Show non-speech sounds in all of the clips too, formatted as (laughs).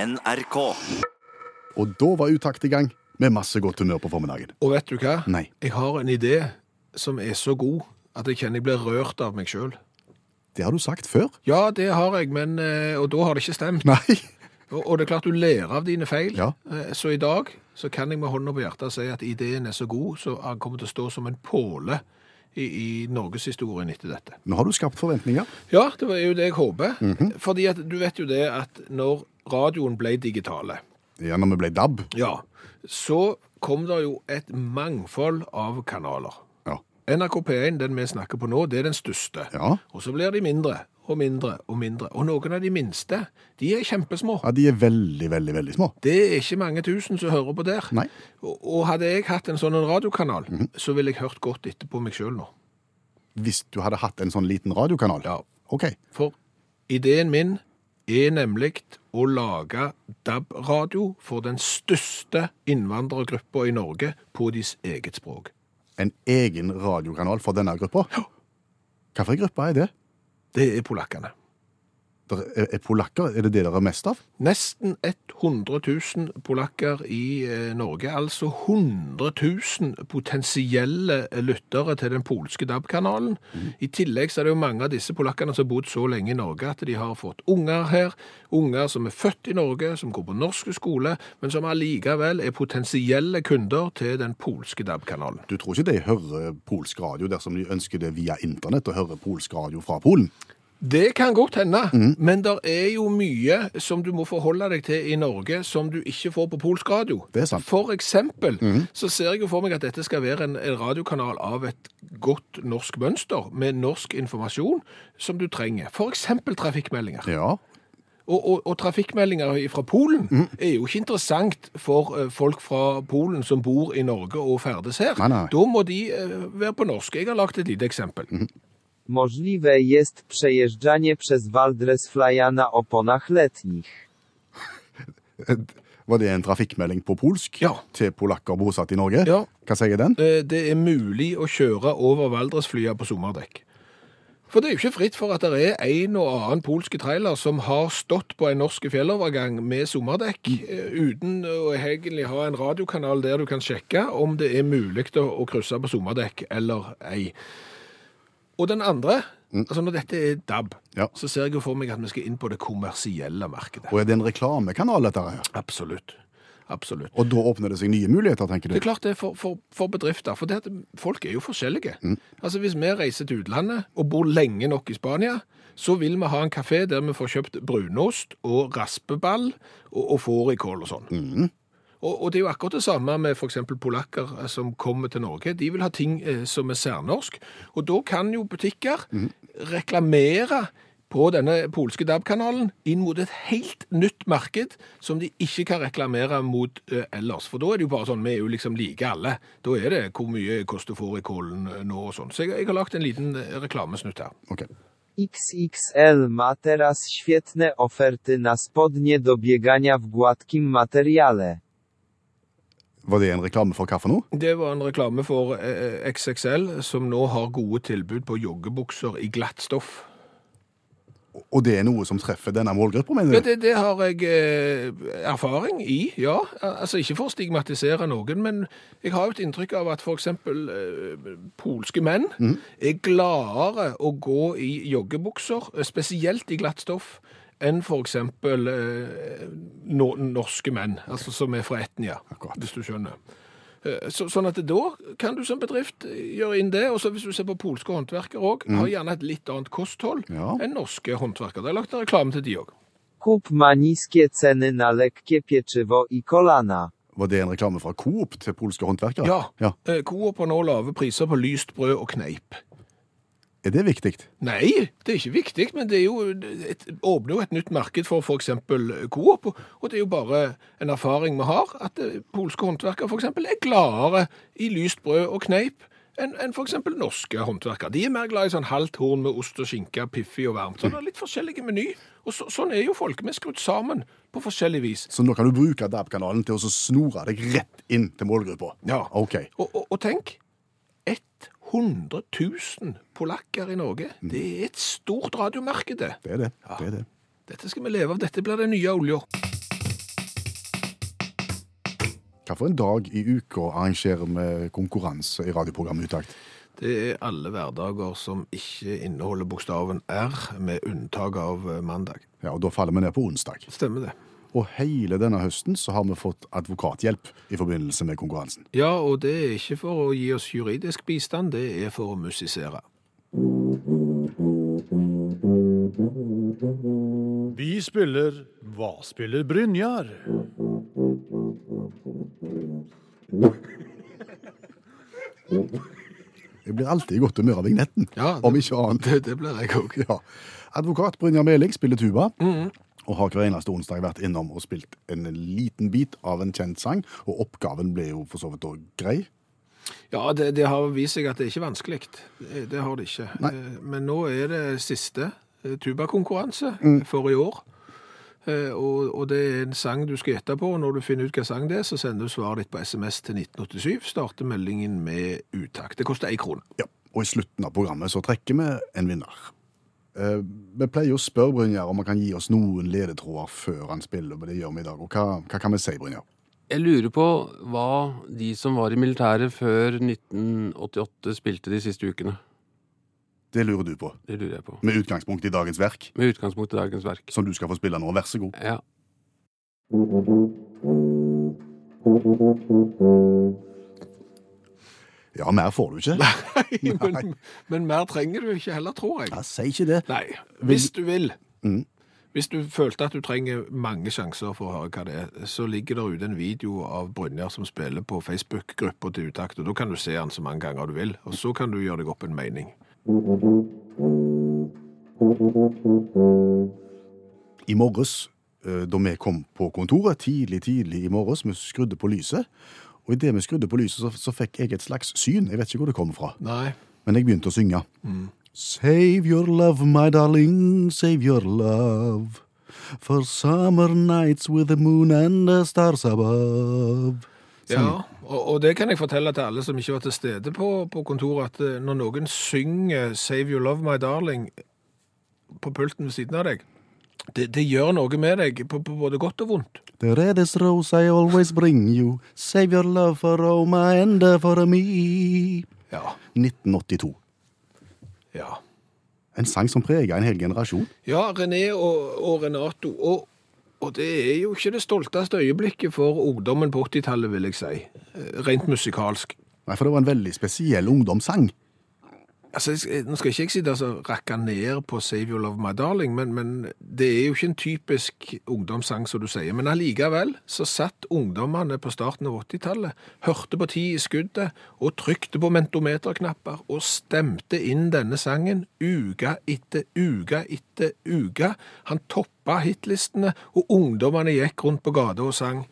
NRK. Og da var utakt i gang med masse godt humør på formiddagen. Og vet du hva? Nei. Jeg har en idé som er så god at jeg kjenner jeg blir rørt av meg sjøl. Det har du sagt før. Ja, det har jeg, men, eh, og da har det ikke stemt. (laughs) Nei. Og, og det er klart du lærer av dine feil. Ja. Eh, Så i dag så kan jeg med hånda på hjertet si at ideen er så god, så han kommer til å stå som en påle i, i norgeshistorien etter dette. Nå har du skapt forventninger. Ja, det var jo det jeg håper. Mhm. Fordi at du vet jo det at når radioen ble digitale, Ja, når vi ble DAB. ja, så kom det jo et mangfold av kanaler. Ja. NRK P1, den vi snakker på nå, det er den største. Ja. Og så blir de mindre og mindre og mindre. Og noen av de minste, de er kjempesmå. ja, de er veldig, veldig, veldig små. Det er ikke mange tusen som hører på der. Nei. Mhm. Og, og hadde jeg hatt en sånn en radiokanal, så ville jeg hørt godt etter på meg sjøl nå. Hvis du hadde hatt en sånn liten radiokanal. Ja. Ok. For ideen min er nemlig å lage DAB-radio for den største innvandrergruppa i Norge på deres eget språk. En egen radiokanal for denne gruppa. Ja. Hvilken gruppe er det? Det er polakkene. Der er, er polakker, er det det dere er mest av? Nesten 100 000 polakker i eh, Norge, altså 100 000 potensielle lyttere til den polske DAB-kanalen. I tillegg så er det jo mange av disse polakkene som har bodd så lenge i Norge at de har fått unger her, unger som er født i Norge, som går på norske skole, men som allikevel er potensielle kunder til den polske DAB-kanalen. Du tror ikke de hører polsk radio dersom de ønsker det via internett og hører polsk radio fra Polen? Det kan godt hende, Mm. men det er jo mye som du må forholde deg til i Norge som du ikke får på polsk radio. Det er sant. Mm. For eksempel så ser jeg jo for meg at dette skal være en, en radiokanal av et godt norsk mønster, med norsk informasjon som du trenger. For eksempel trafikkmeldinger. Ja. Og, og, og trafikkmeldinger fra Polen Mm. er jo ikke interessant for eh, folk fra Polen som bor i Norge og ferdes her. Nei, nei. Da må de eh, være på norsk. Jeg har lagt et lite eksempel. Możliwe jest przejeżdżanie przez Waldres Flya na oponach letnich. Var det en trafikkmelding på polsk Ja. til polakker bosatt i Norge? Ja. Hva sier den? Eh, det er mulig å kjøre over Valdresflya på sommerdekk. For det er jo ikke fritt for at det er en og annen polske trailer som har stått på en norsk fjellovergang med sommerdekk, eh, uten å egentlig ha en radiokanal der du kan sjekke om det er mulig å, å krysse på sommerdekk eller ei. Og den andre, altså når dette er DAB, Ja. så ser jeg jo for meg at vi skal inn på det kommersielle markedet. Og er det en reklamekanal, dette her? Absolutt. Absolutt. Og da åpner det seg nye muligheter, tenker Det er du? klart det er for, for, for bedrifter, for det at folk er jo forskjellige. Mm. Altså Hvis vi reiser til utlandet og bor lenge nok i Spania, så vil vi ha en kafé der vi får kjøpt brunost og raspeball og, og fårikål og sånn. Og, og det er jo akkurat det samme med f.eks. polakker eh, som kommer til Norge. De vil ha ting eh, som er særnorsk. Og da kan jo butikker reklamere på denne polske DAB-kanalen inn mot et helt nytt marked som de ikke kan reklamere mot eh, ellers. For da er det jo bare sånn, vi er jo liksom like alle. Da er det hvor mye koster fårikålen eh, nå og sånn. Så jeg, jeg har lagt en liten eh, reklamesnutt her. Ok. XXL ma teraz świetne oferty na spodnie do biegania w gładkim materiale. Var det en reklame for kaffe nå? Det var en reklame for eh, XXL, som nå har gode tilbud på joggebukser i glatt stoff. Og det er noe som treffer denne målgruppa, mener Ja, du? det, det har jeg eh, erfaring i, ja. Al- Altså ikke for å stigmatisere noen, men jeg har jo et inntrykk av at for eksempel eh, polske menn Mm. er gladere å gå i joggebukser, eh, spesielt i glatt stoff, enn for eksempel eh, no norske menn, altså som er fra Etnia, Akkurat. hvis du skjønner. Eh, Så, sånn at da kan du som bedrift gjøre inn det, og så hvis du ser på polske håndverkere òg, har gjerne et litt annet kosthold Mm. Ja. enn norske håndverkere. Det er lagt en reklame til de òg. Kup ma niskie ceny na lekkie pieczywo i kolana. Var det en reklame fra Coop til polske håndverkere? Ja. Eh, Coop har nå lave priser på lyst brød og kneip. Er det viktig? Nei, det er ikke viktig, men det er jo et, åpner jo et nytt marked for f.eks. Coop. og- Og det er jo bare en erfaring vi har, at eh, polske håndverkere f.eks. er gladere i lyst brød og kneip enn enn for f.eks. norske håndverkere. De er mer glad i sånn halvt horn med ost og skinke, piffi og varmt. Så det er litt forskjellige meny. Og så, sånn er jo folk. Vi er skrudd sammen på forskjellig vis. Så nå kan du bruke DAB-kanalen til å så snore deg rett inn til målgruppa? Ja. Ok. Og, og, og tenk, 100 000 polakker i Norge. Det er et stort radiomarked, det. Det er det. det, er det. Dette skal vi leve av. Dette blir den nye olja. Hva for en dag i uka arrangerer vi konkurranse i radioprogrammet Utakt? Det er alle hverdager som ikke inneholder bokstaven R, med unntak av eh, mandag. Ja, og da faller vi ned på onsdag. Stemmer det. Og hele denne høsten så har vi fått advokathjelp i forbindelse med konkurransen. Ja, og det er ikke for å gi oss juridisk bistand, det er for å musisere. Vi spiller Hva spiller Brynjar? Jeg blir alltid i godt humør av vignetten, Ja, det- om ikke annet. (laughs) Det, det blir jeg òg. Ja. Advokat Brynjar Meling spiller tuba, Mm. og har hver eneste onsdag vært innom og spilt en liten bit av en kjent sang, og oppgaven ble jo for så vidt også grei. Ja, det, det har vist seg at det er ikke vanskelig. Det, det har det ikke. Nei. Eh, Men nå er det siste eh, tubakonkurranse for i år. Eh, Og, og det er en sang du skal gjette på, og når du finner ut hva sang det er, så sender du svaret ditt på SMS til 1987. Starter meldingen med uttak. Det koster én krone. (laughs) Ja, og i slutten av programmet så trekker vi en vinner. Eh, vi pleier å spørre Brynjar om han kan gi oss noen ledetråder før han spiller, men det gjør vi i dag. Og hva, hva kan vi si, Brynjar? Jeg lurer på hva de som var i militæret før 1988 spilte de siste ukene. Det lurer du på, Det lurer jeg på. med utgangspunkt i dagens verk, Med utgangspunkt i dagens verk. som du skal få spille nå. Vær så god. Ja. Ja, mer får du ikke. men, men mer trenger du ikke heller, tror jeg. Ja, si ikke det. Nei. Hvis du vil. Mm. Hvis du følte at du trenger mange sjanser for å høre hva det er, så ligger der ute en video av Brynjar som spiller på Facebook-gruppa til Utakt, og da kan du se han så mange ganger du vil, og så kan du gjøre deg opp en mening. I morges, eh, da vi kom på kontoret, tidlig, tidlig i morges, vi skrudde på lyset. Og idet vi skrudde på lyset, så, så fikk jeg et slags syn. Jeg vet ikke hvor det kom fra. Nei. Men jeg begynte å synge. Save your love, my darling, save your love. For summer nights with the moon and the stars above. Ja, og, og det kan jeg fortelle til alle som ikke var til stede på, på kontoret, at eh, når noen synger 'Save You Love My Darling' på pulten ved siden av deg, det, det gjør noe med deg, på, på både godt og vondt. The reddest rose I always bring you. Save your love for Roma and for me. Ja. 1982. Ja. En sang som preget en hel generasjon. Ja, René og, og Renato. Og, og det er jo ikke det stolteste øyeblikket for ungdommen på 80-tallet, vil jeg si. Eh, Rent musikalsk. Nei, for det var en veldig spesiell ungdomssang. Altså, jeg skal- Nå skal ikke jeg sitte og altså, rakke ned på 'Save You Love My Darling', men, men det er jo ikke en typisk ungdomssang, som du sier. Men allikevel så satt ungdommene på starten av 80-tallet, hørte på Ti i skuddet og trykte på mentometerknapper og stemte inn denne sangen uke etter uke etter uke. Han toppa hitlistene, og ungdommene gikk rundt på gata og sang.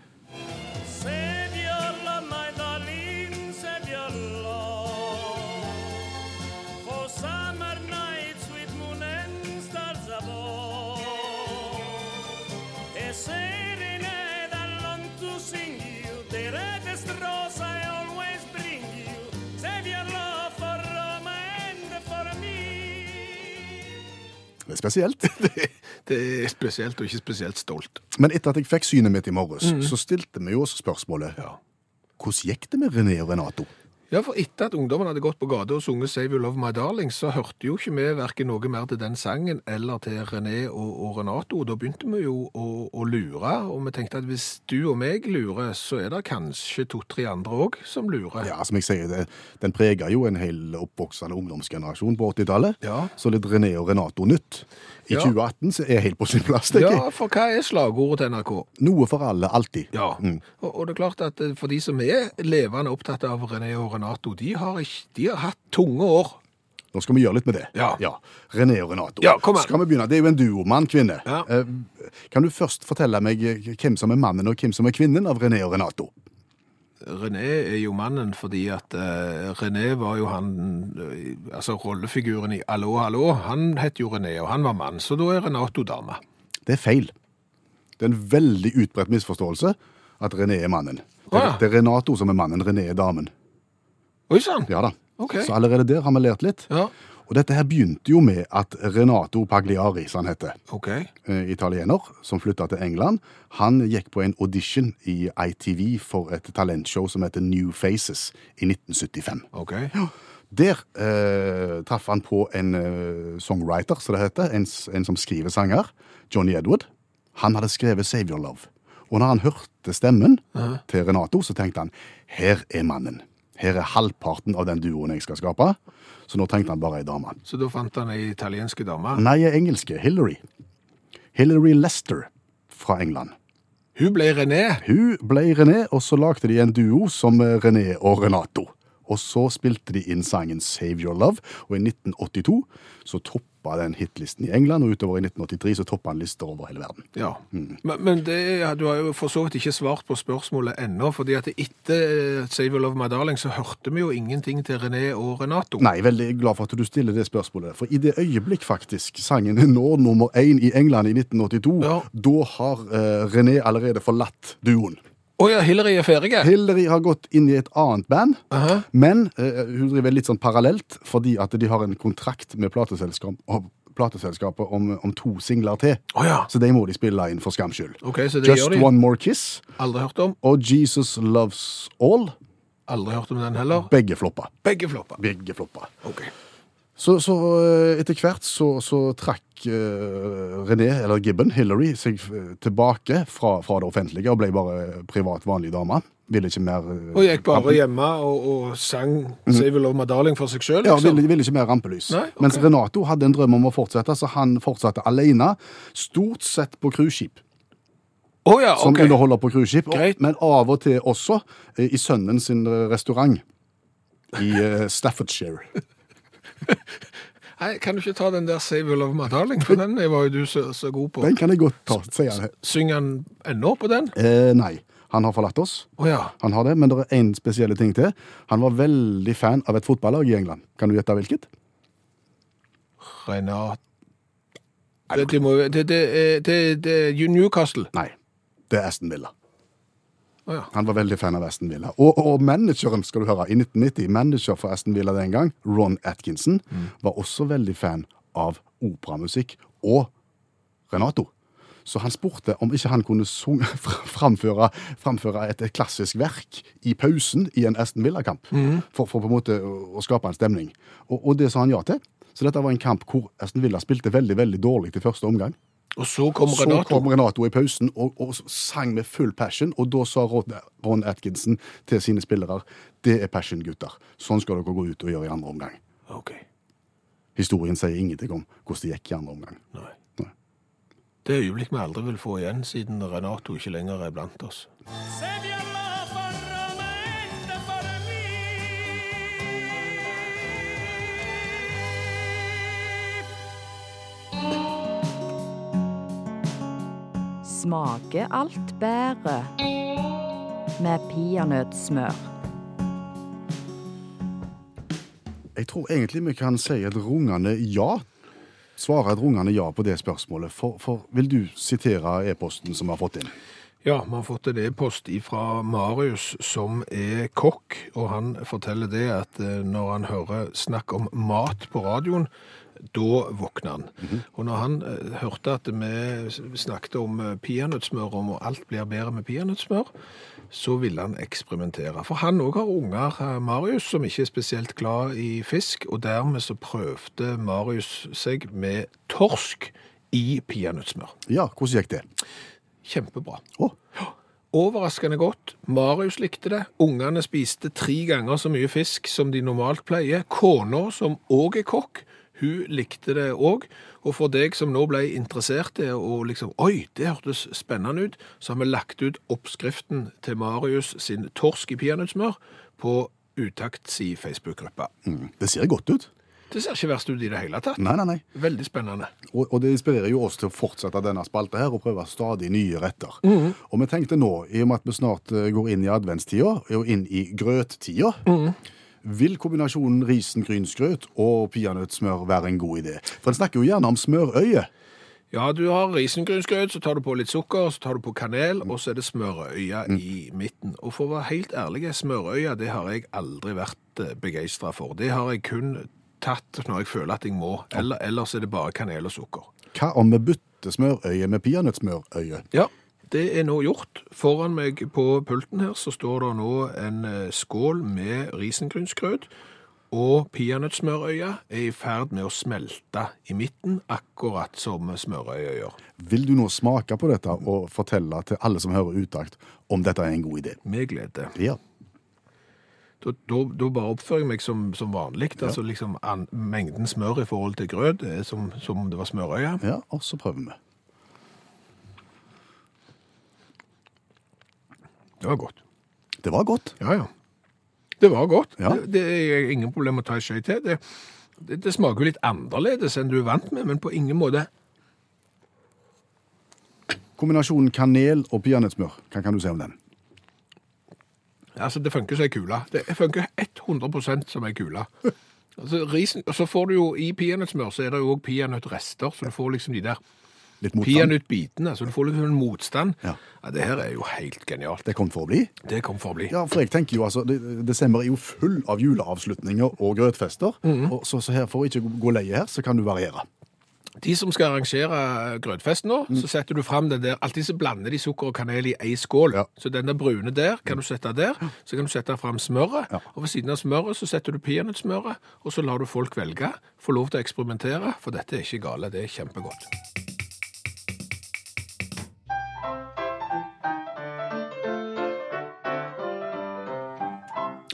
Save your love, my darling, save your love. For summer nights with moon and stars above. A serenade I long to sing you, the reddest rose I always bring you. Save your love for Roma and for me. Det er (laughs) spesielt. Det er spesielt, og ikke spesielt stolt. Men etter at jeg fikk synet mitt i morges, Mm. så stilte vi jo oss spørsmålet Ja. hvordan gikk det med René og Renato? Ja, for etter at ungdommen hadde gått på gata og sunget 'Save You Love My Darling', så hørte jo ikke vi verken noe mer til den sangen eller til René og, og Renato. Og da begynte vi jo å, å lure, og vi tenkte at hvis du og meg lurer, så er det kanskje to-tre andre òg som lurer. Ja, som jeg sier, det, Den preger jo en hel oppvoksende ungdomsgenerasjon på 80-tallet. Ja. Så litt René og Renato nytt i Ja. 2018 så er helt på sin plass. tenker Ja, for hva er slagordet til NRK? jeg. Noe for alle, alltid. Ja, og, og det er klart at eh, for de som er levende opptatt av René og Renato, de har, ikke, de har hatt tunge år. Nå skal vi gjøre litt med det. Ja. René og Renato. Ja, kom her. Skal vi begynne? Det er jo en duo, mann, kvinne. Ja. Eh, Kan du først fortelle meg eh, hvem som er mannen og hvem som er kvinnen av René og Renato? René er jo mannen fordi at eh, René var jo han eh, Altså rollefiguren i Hallo, hallo. Han het jo René, og han var mann, så da er Renato dame. Det er feil. Det er en veldig utbredt misforståelse at René er mannen. Det er, Å, ja. det er Renato som er mannen, René er damen. Oi sann! Ja da. Ok. Så allerede der har vi lært litt. Ja. Og dette her begynte jo med at Renato Pagliari, som han heter, OK. eh, italiener, som flytta til England, han gikk på en audition i ITV for et talentshow som heter New Faces i 1975. ok. Der eh, traff han på en eh, songwriter, som det heter, en, s- en som skriver sanger, Johnny Edward. Han hadde skrevet Save Your Love. Og når han hørte stemmen til Renato, så tenkte han her er mannen. Her er halvparten av den duoen jeg skal skape. Så nå tenkte han bare ei dame. Så da fant han ei italiensk dame. Nei, ei engelske. Hillary. Hillary Lester fra England. Hun ble René. Hun ble René, og så lagde de en duo som eh, René og Renato. Og så spilte de inn sangen Save Your Love, og i 1982 så toppa den hitlisten i England, og utover i 1983 så toppa den lister over hele verden. Ja. Mm. Men, men det, er- du har jo for så vidt ikke svart på spørsmålet ennå, fordi at etter eh, Save Your Love My Darling så hørte vi jo ingenting til René og Renato. Nei, veldig glad for at du stiller det spørsmålet, for i det øyeblikk faktisk sangen når nummer én i England i 1982, Ja. da har eh, René allerede forlatt duoen. Å ja, Hillary er ferdig. Hillary har gått inn i et annet band, Aha. men eh, hun driver litt sånn parallelt, fordi at de har en kontrakt med plateselskap, om- plateselskapet om, om to singler til. Å ja. Så de må de spille inn for skams skyld. OK, så det Just gjør de. One More Kiss Aldri hørt om. og Jesus Loves All. Aldri hørt om den heller. Begge floppa. Begge floppa. Begge floppa. OK. Så, så eh, etter hvert så, så trakk eh, René, eller Gibbon, Hillary, seg eh, tilbake fra, fra det offentlige og ble bare privat vanlig dame. Ville ikke mer eh, Og gikk kampen. bare hjemme og, og sang Save Your Love My Darling for seg sjøl, Ja, liksom. ville, ville ikke mer rampelys. Nei, ok. Mens Renato hadde en drøm om å fortsette, så han fortsatte alene, stort sett på cruiseskip. Å ja, Som Ah, OK. underholder på cruiseskip, og- Greit. men av og til også eh, i sønnen sin eh, restaurant i eh, (laughs) Staffordshire. Nei, kan du ikke ta den der Save Your Love My Darling, for den var jo du så, så god på. Den kan jeg godt ta, sier han. Synger han ennå på den? Eh, nei, han har forlatt oss. Å ja. Han har det, men det er én spesielle ting til. Han var veldig fan av et fotballag i England. Kan du gjette hvilket? Renat det, det, må, det, det, er- det, det er Newcastle. Nei, det er Aston Villa. Å ja. Han var veldig fan av Aston Villa. Og, og manageren skal du høre, i 1990, manager for Aston Villa den gang, Ron Atkinson, var også veldig fan av operamusikk og Renato. Så han spurte om ikke han kunne sunge, (laughs) fra- framføre, framføre et, et klassisk verk i pausen i en Aston Villa-kamp, for, for på en måte å, å skape en stemning. Og, og det sa han ja til. Så dette var en kamp hvor Aston Villa spilte veldig, veldig dårlig til første omgang. Og så kom Så Renato. kom Renato i pausen og, og sang med full passion, og da sa Ron, Ron Atkinson til sine spillere det er passion, gutter. Sånn skal dere gå ut og gjøre i andre omgang. Ok. Historien sier ingenting om hvordan det gikk i andre omgang. Nei. Nei. Det er øyeblikk vi aldri vil få igjen, siden Renato ikke lenger er blant oss. Save your love for Roma and for me. Smaker alt bedre med peanøttsmør. Jeg tror egentlig vi kan si et rungende ja. Svare et rungende ja på det spørsmålet. For, for vil du sitere e-posten som vi har fått inn? Ja, vi har fått en e-post fra Marius, som er kokk, og han forteller det at eh, når han hører snakk om mat på radioen, da våkner han. Og når han eh, hørte at vi snakket om eh, peanøttsmør, om at alt blir bedre med peanøttsmør, så ville han eksperimentere. For han òg har unger, eh, Marius, som ikke er spesielt glad i fisk, og dermed så prøvde Marius seg med torsk i peanøttsmør. Ja, hvordan gikk det? Kjempebra. Å, Overraskende godt. Marius likte det. Ungene spiste tre ganger så mye fisk som de normalt pleier. Kona, som òg er kokk, hun likte det òg. Og for deg som nå ble interessert i og liksom Oi, det hørtes spennende ut, så har vi lagt ut oppskriften til Marius sin torsk i peanøttsmør på Utakts i Facebook-gruppa. mm, det ser godt ut. Det ser ikke verst ut i det hele tatt. Nei, nei, nei. Veldig spennende. Og, og det inspirerer jo oss til å fortsette denne spalta her og prøve stadig nye retter. Og vi tenkte nå, i og med at vi snart eh, går inn i adventstida og inn i grøttida Vil kombinasjonen risengrynsgrøt og peanøttsmør være en god idé? For en snakker jo gjerne om smørøye. Ja, du har risengrynsgrøt, så tar du på litt sukker, så tar du på kanel, og så er det smørøya i midten. Og eh, for å være helt ærlig, smørøya det har jeg aldri vært begeistra for. Det har jeg kun tatt når jeg føler at jeg må. Eller, ellers er det bare kanel og sukker. Hva om vi bytter smørøye med peanøttsmørøye? Ja, det er nå gjort. Foran meg på pulten her så står det nå en eh, skål med risengrynsgrøt, og peanøttsmørøya er i ferd med å smelte i midten, akkurat som smørøya gjør. Vil du nå smake på dette og fortelle til alle som hører utakt, om dette er en god idé? Med glede. Ja. Da, da, da bare oppfører jeg meg som, som vanlig. Altså liksom an, mengden smør i forhold til grøt er som, som om det var smørøya. ja, og så prøver vi. Det var godt. Det var godt. Ja, ja. Det var godt. Ja. Det, det er ingen problem å ta en skje til. Det, det, det smaker jo litt annerledes enn du er vant med, men på ingen måte Kombinasjonen kanel og peanøttsmør, hva kan du si om den? Altså, det funker som ei kule. Det funker 100 som ei (laughs) kule. Altså, risen, og så får du jo I peanøttsmør så er det jo òg peanøttrester, så du får liksom de der Litt motstand? peanøttbitene. Så du får liksom en motstand. Ja. Ja, det her er jo helt genialt. Det kom for å bli? Det kom for å bli. Ja, for jeg tenker jo altså, de- Desember er jo full av juleavslutninger og grøtfester. og så, så her for å ikke gå leie her, så kan du variere. De som skal arrangere grøtfest nå, så setter du fram den der Alltid så blander de sukker og kanel i ei skål. Ja. Så den der brune der kan du sette der. Så kan du sette fram smøret. Og ved siden av smøret så setter du peanøttsmøret. Og så lar du folk velge. Få lov til å eksperimentere, for dette er ikke gale. Det er kjempegodt.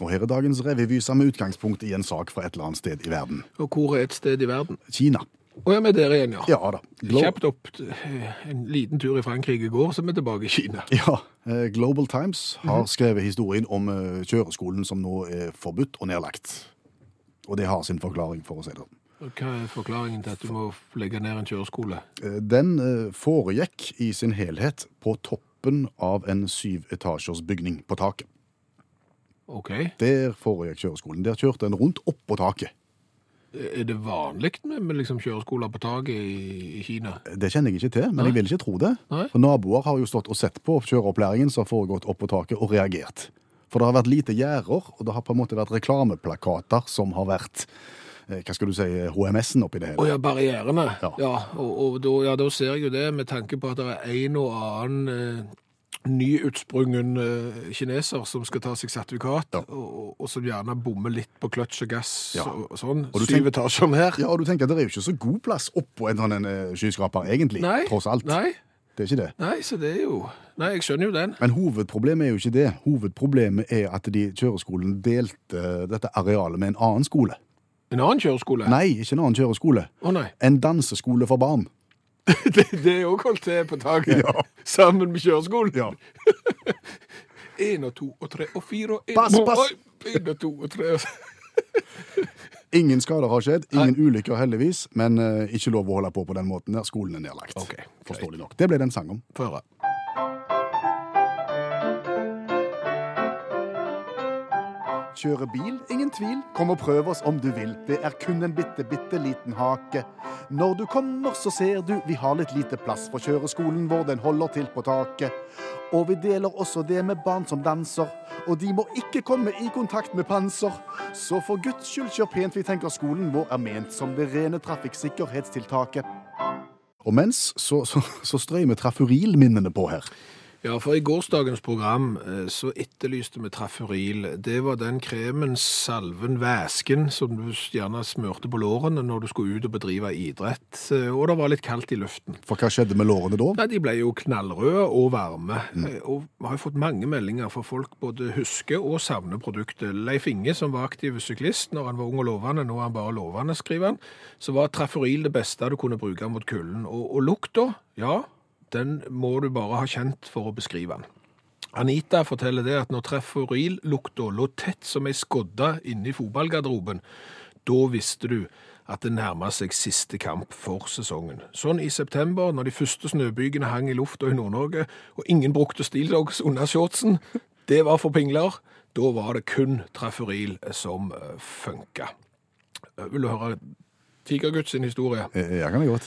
Og her er dagens revyvise med utgangspunkt i en sak fra et eller annet sted i verden. Og hvor er et sted i verden? Kina. Å ja, vi er der igjen, ja. Ja da. Glo Kjapt opp t- en liten tur i Frankrike i går, så er vi tilbake i Kina. ja, eh, Global Times har skrevet historien om eh, kjøreskolen som nå er forbudt og nedlagt. Og det har sin forklaring, for å si det sånn. Og Hva er forklaringen til at du må legge ned en kjøreskole? Eh, Den eh, foregikk i sin helhet på toppen av en syvetasjers bygning på taket. OK. Der foregikk kjøreskolen. Der kjørte en rundt oppå taket. Eh, Er det vanlig med, med liksom kjøreskoler på taket i, i Kina? Det kjenner jeg ikke til, men jeg vil ikke tro det. Nei. For Naboer har jo stått og sett på kjøreopplæringen som har foregått opp på taket, og reagert. For det har vært lite gjerder, og det har på en måte vært reklameplakater som har vært eh, Hva skal du si HMS-en oppi det Å hele? ja, barrierene. Ja. Ja, og, og da, ja, da ser jeg jo det, med tanke på at det er en og annen eh, nyutsprungen eh, kineser som skal ta seg sertifikat, og, og- og som gjerne bommer litt på kløtsj og gass Ja. og, og sånn. Og du Syv tenk- etasjer mer. Ja, og du tenker at det er jo ikke så god plass oppå en sånn eh, skyskraper, egentlig. Nei. Tross alt. Nei. Det er ikke det. Nei, så det er jo Nei, jeg skjønner jo den. Men hovedproblemet er jo ikke det. Hovedproblemet er at de kjøreskolen delte dette arealet med en annen skole. En annen kjøreskole? Nei, ikke en annen kjøreskole. Å nei. En danseskole for barn. (laughs) Det, det er òg holdt til på taket. Sammen med kjøreskolen. Ja. (laughs) Én og to og tre og fire og en- Pass, pass. Oi, En og to og tre og Ingen skader har skjedd, ingen ulykker heldigvis, men eh, ikke lov å holde på på den måten der skolen er nedlagt. OK. Forstår. Forståelig nok. Det ble det en sang om. Få høre. Kjøre bil, ingen tvil, kom og prøv oss om du vil. Det er kun en bitte, bitte liten hake. Når du kommer, så ser du vi har litt lite plass, for kjøreskolen vår den holder til på taket. Og vi deler også det med barn som danser, og de må ikke komme i kontakt med panser. Så for guds skyld, kjør pent, vi tenker skolen vår er ment som det rene trafikksikkerhetstiltaket. Og mens så, så, så strøy vi trafurilminnene på her. (laughs) Ja, for i gårsdagens program eh, så etterlyste vi Traferil. Det var den kremen, salven, væsken som du gjerne smørte på lårene når du skulle ut og bedrive idrett. Eh, Og det var litt kaldt i luften. For hva skjedde med lårene da? Nei, De ble jo knallrøde og varme. Eh, Og vi har jo fått mange meldinger fra folk både husker og savner produktet. Leif Inge, som var aktiv syklist når han var ung og lovende, nå er han bare lovende, skriver han, så var Traferil det beste du kunne bruke mot kulden. Og, og lukta, ja, den må du bare ha kjent for å beskrive den. Anita forteller det at når Traforil-lukta lå tett som ei skodde inne i fotballgarderoben, da visste du at det nærma seg siste kamp for sesongen. Sånn i september, når de første snøbygene hang i lufta i Nord-Norge, og ingen brukte stillongs under shortsen. Det var for pingler. Da var det kun Traforil som eh, funka. Eh, Vil du høre Tigergutt sin historie? Eh, Ja, kan jeg godt.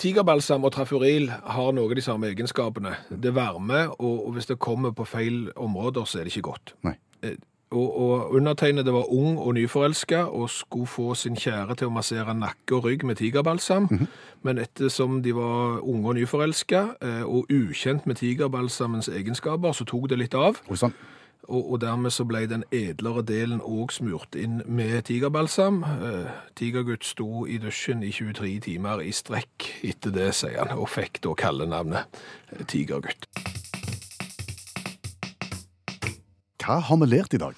Tigerbalsam og trafuril har noe av de samme egenskapene. Det varmer, og og hvis det kommer på feil områder, så er det ikke godt. Nei. Eh, Og, og undertegnede var ung og nyforelska og skulle få sin kjære til å massere nakke og rygg med tigerbalsam. Men ettersom de var unge og nyforelska eh, og ukjent med tigerbalsamens egenskaper, så tok det litt av. Oi sann. Og, og dermed så ble den edlere delen òg smurt inn med tigerbalsam. Eh, tigergutt sto i dusjen i 23 timer i strekk etter det, sier han, og fikk da kallenavnet eh, Tigergutt. Hva har vi lært i dag?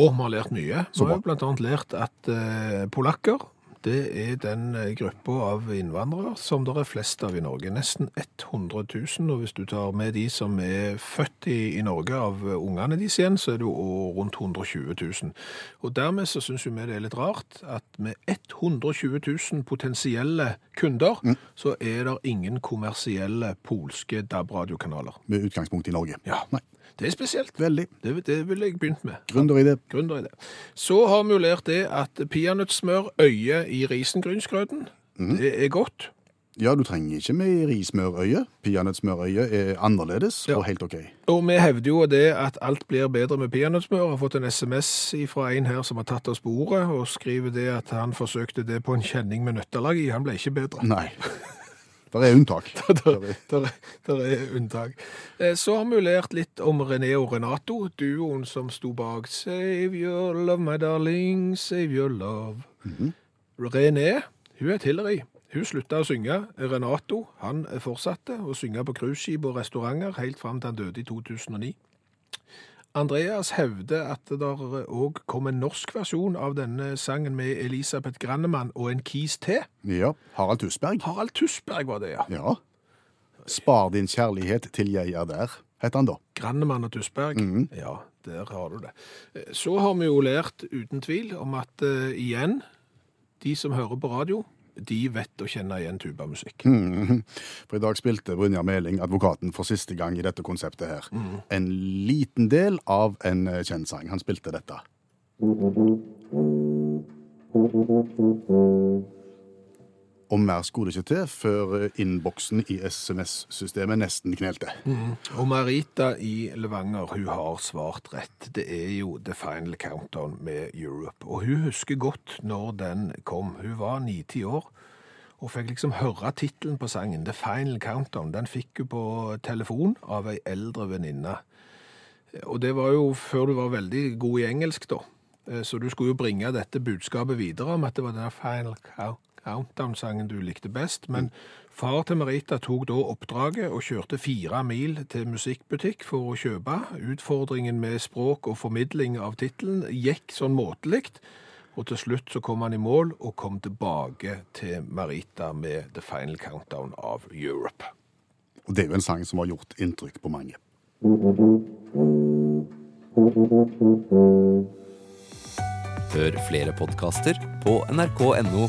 Og vi har lært mye. Vi Så har jo bra. blant annet lært at eh, polakker, det er den eh, gruppa av innvandrere som det er flest av i Norge. Nesten 100 000, og hvis du tar med de som er født i, i Norge av eh, ungene deres igjen, så er det jo å- rundt 120 000. Og dermed så syns jo vi det er litt rart at med 120 000 potensielle kunder, Mm. så er det ingen kommersielle polske DAB-radiokanaler. Med utgangspunkt i Norge. Ja. Nei, Det er spesielt. veldig. Det, det ville jeg begynt med. Gründer i det. Gründer i det. Så har vi jo lært det at peanøttsmør øye i risengrynsgrøten. Det er godt. Ja, du trenger ikke meierismørøye. Peanøttsmørøye er annerledes Ja. og helt OK. Og vi hevder jo det at alt blir bedre med peanøttsmør. Har fått en SMS fra en her som har tatt oss på ordet, og skriver det at han forsøkte det på en kjenning med nøttelag i. Han ble ikke bedre. Nei. (laughs) Det er unntak. (laughs) Der, der, der er unntak. Eh, Så har vi jo lært litt om René og Renato, duoen som sto bak Save your love, my darling, save your love. René, hun er Hillary. Hun slutta å synge. Renato han fortsatte å synge på cruiseskip og restauranter helt fram til han døde i 2009. Andreas hevder at det òg kom en norsk versjon av denne sangen med Elisabeth Grannemann og en kis til. Ja. Harald Tusberg. Harald Tusberg var det, ja. Ja. Spar din kjærlighet til jeg er der, heter han da. Grannemann og Tusberg. Ja, der har du det. Eh, Så har vi jo lært uten tvil om at eh, igjen, de som hører på radio, de vet å kjenne igjen tubamusikk. Mhm. For i dag spilte Brynjar Meling advokaten for siste gang i dette konseptet her. En liten del av en eh, kjent sang. Han spilte dette. Og mer skulle det ikke til før eh, innboksen i SMS-systemet nesten knelte. Og Marita i Levanger, hun har svart rett. Det er jo The Final Countdown med Europe. Og hun husker godt når den kom. Hun var 90 år. Og fikk liksom høre tittelen på sangen, The Final Countdown. Den fikk hun på telefon av ei eldre venninne. Og det var jo før du var veldig god i engelsk, da. Eh, Så du skulle jo bringe dette budskapet videre om at det var den Final Cou- Countdown-sangen du likte best. Men far til Merita tok da oppdraget og kjørte fire mil til musikkbutikk for å kjøpe. Utfordringen med språk og formidling av tittelen gikk sånn måtelig. Og til slutt så kom han i mål og kom tilbake til Merita med The Final Countdown av Europe. Og det er jo en sang som har gjort inntrykk på mange. Hør flere podkaster på nrk.no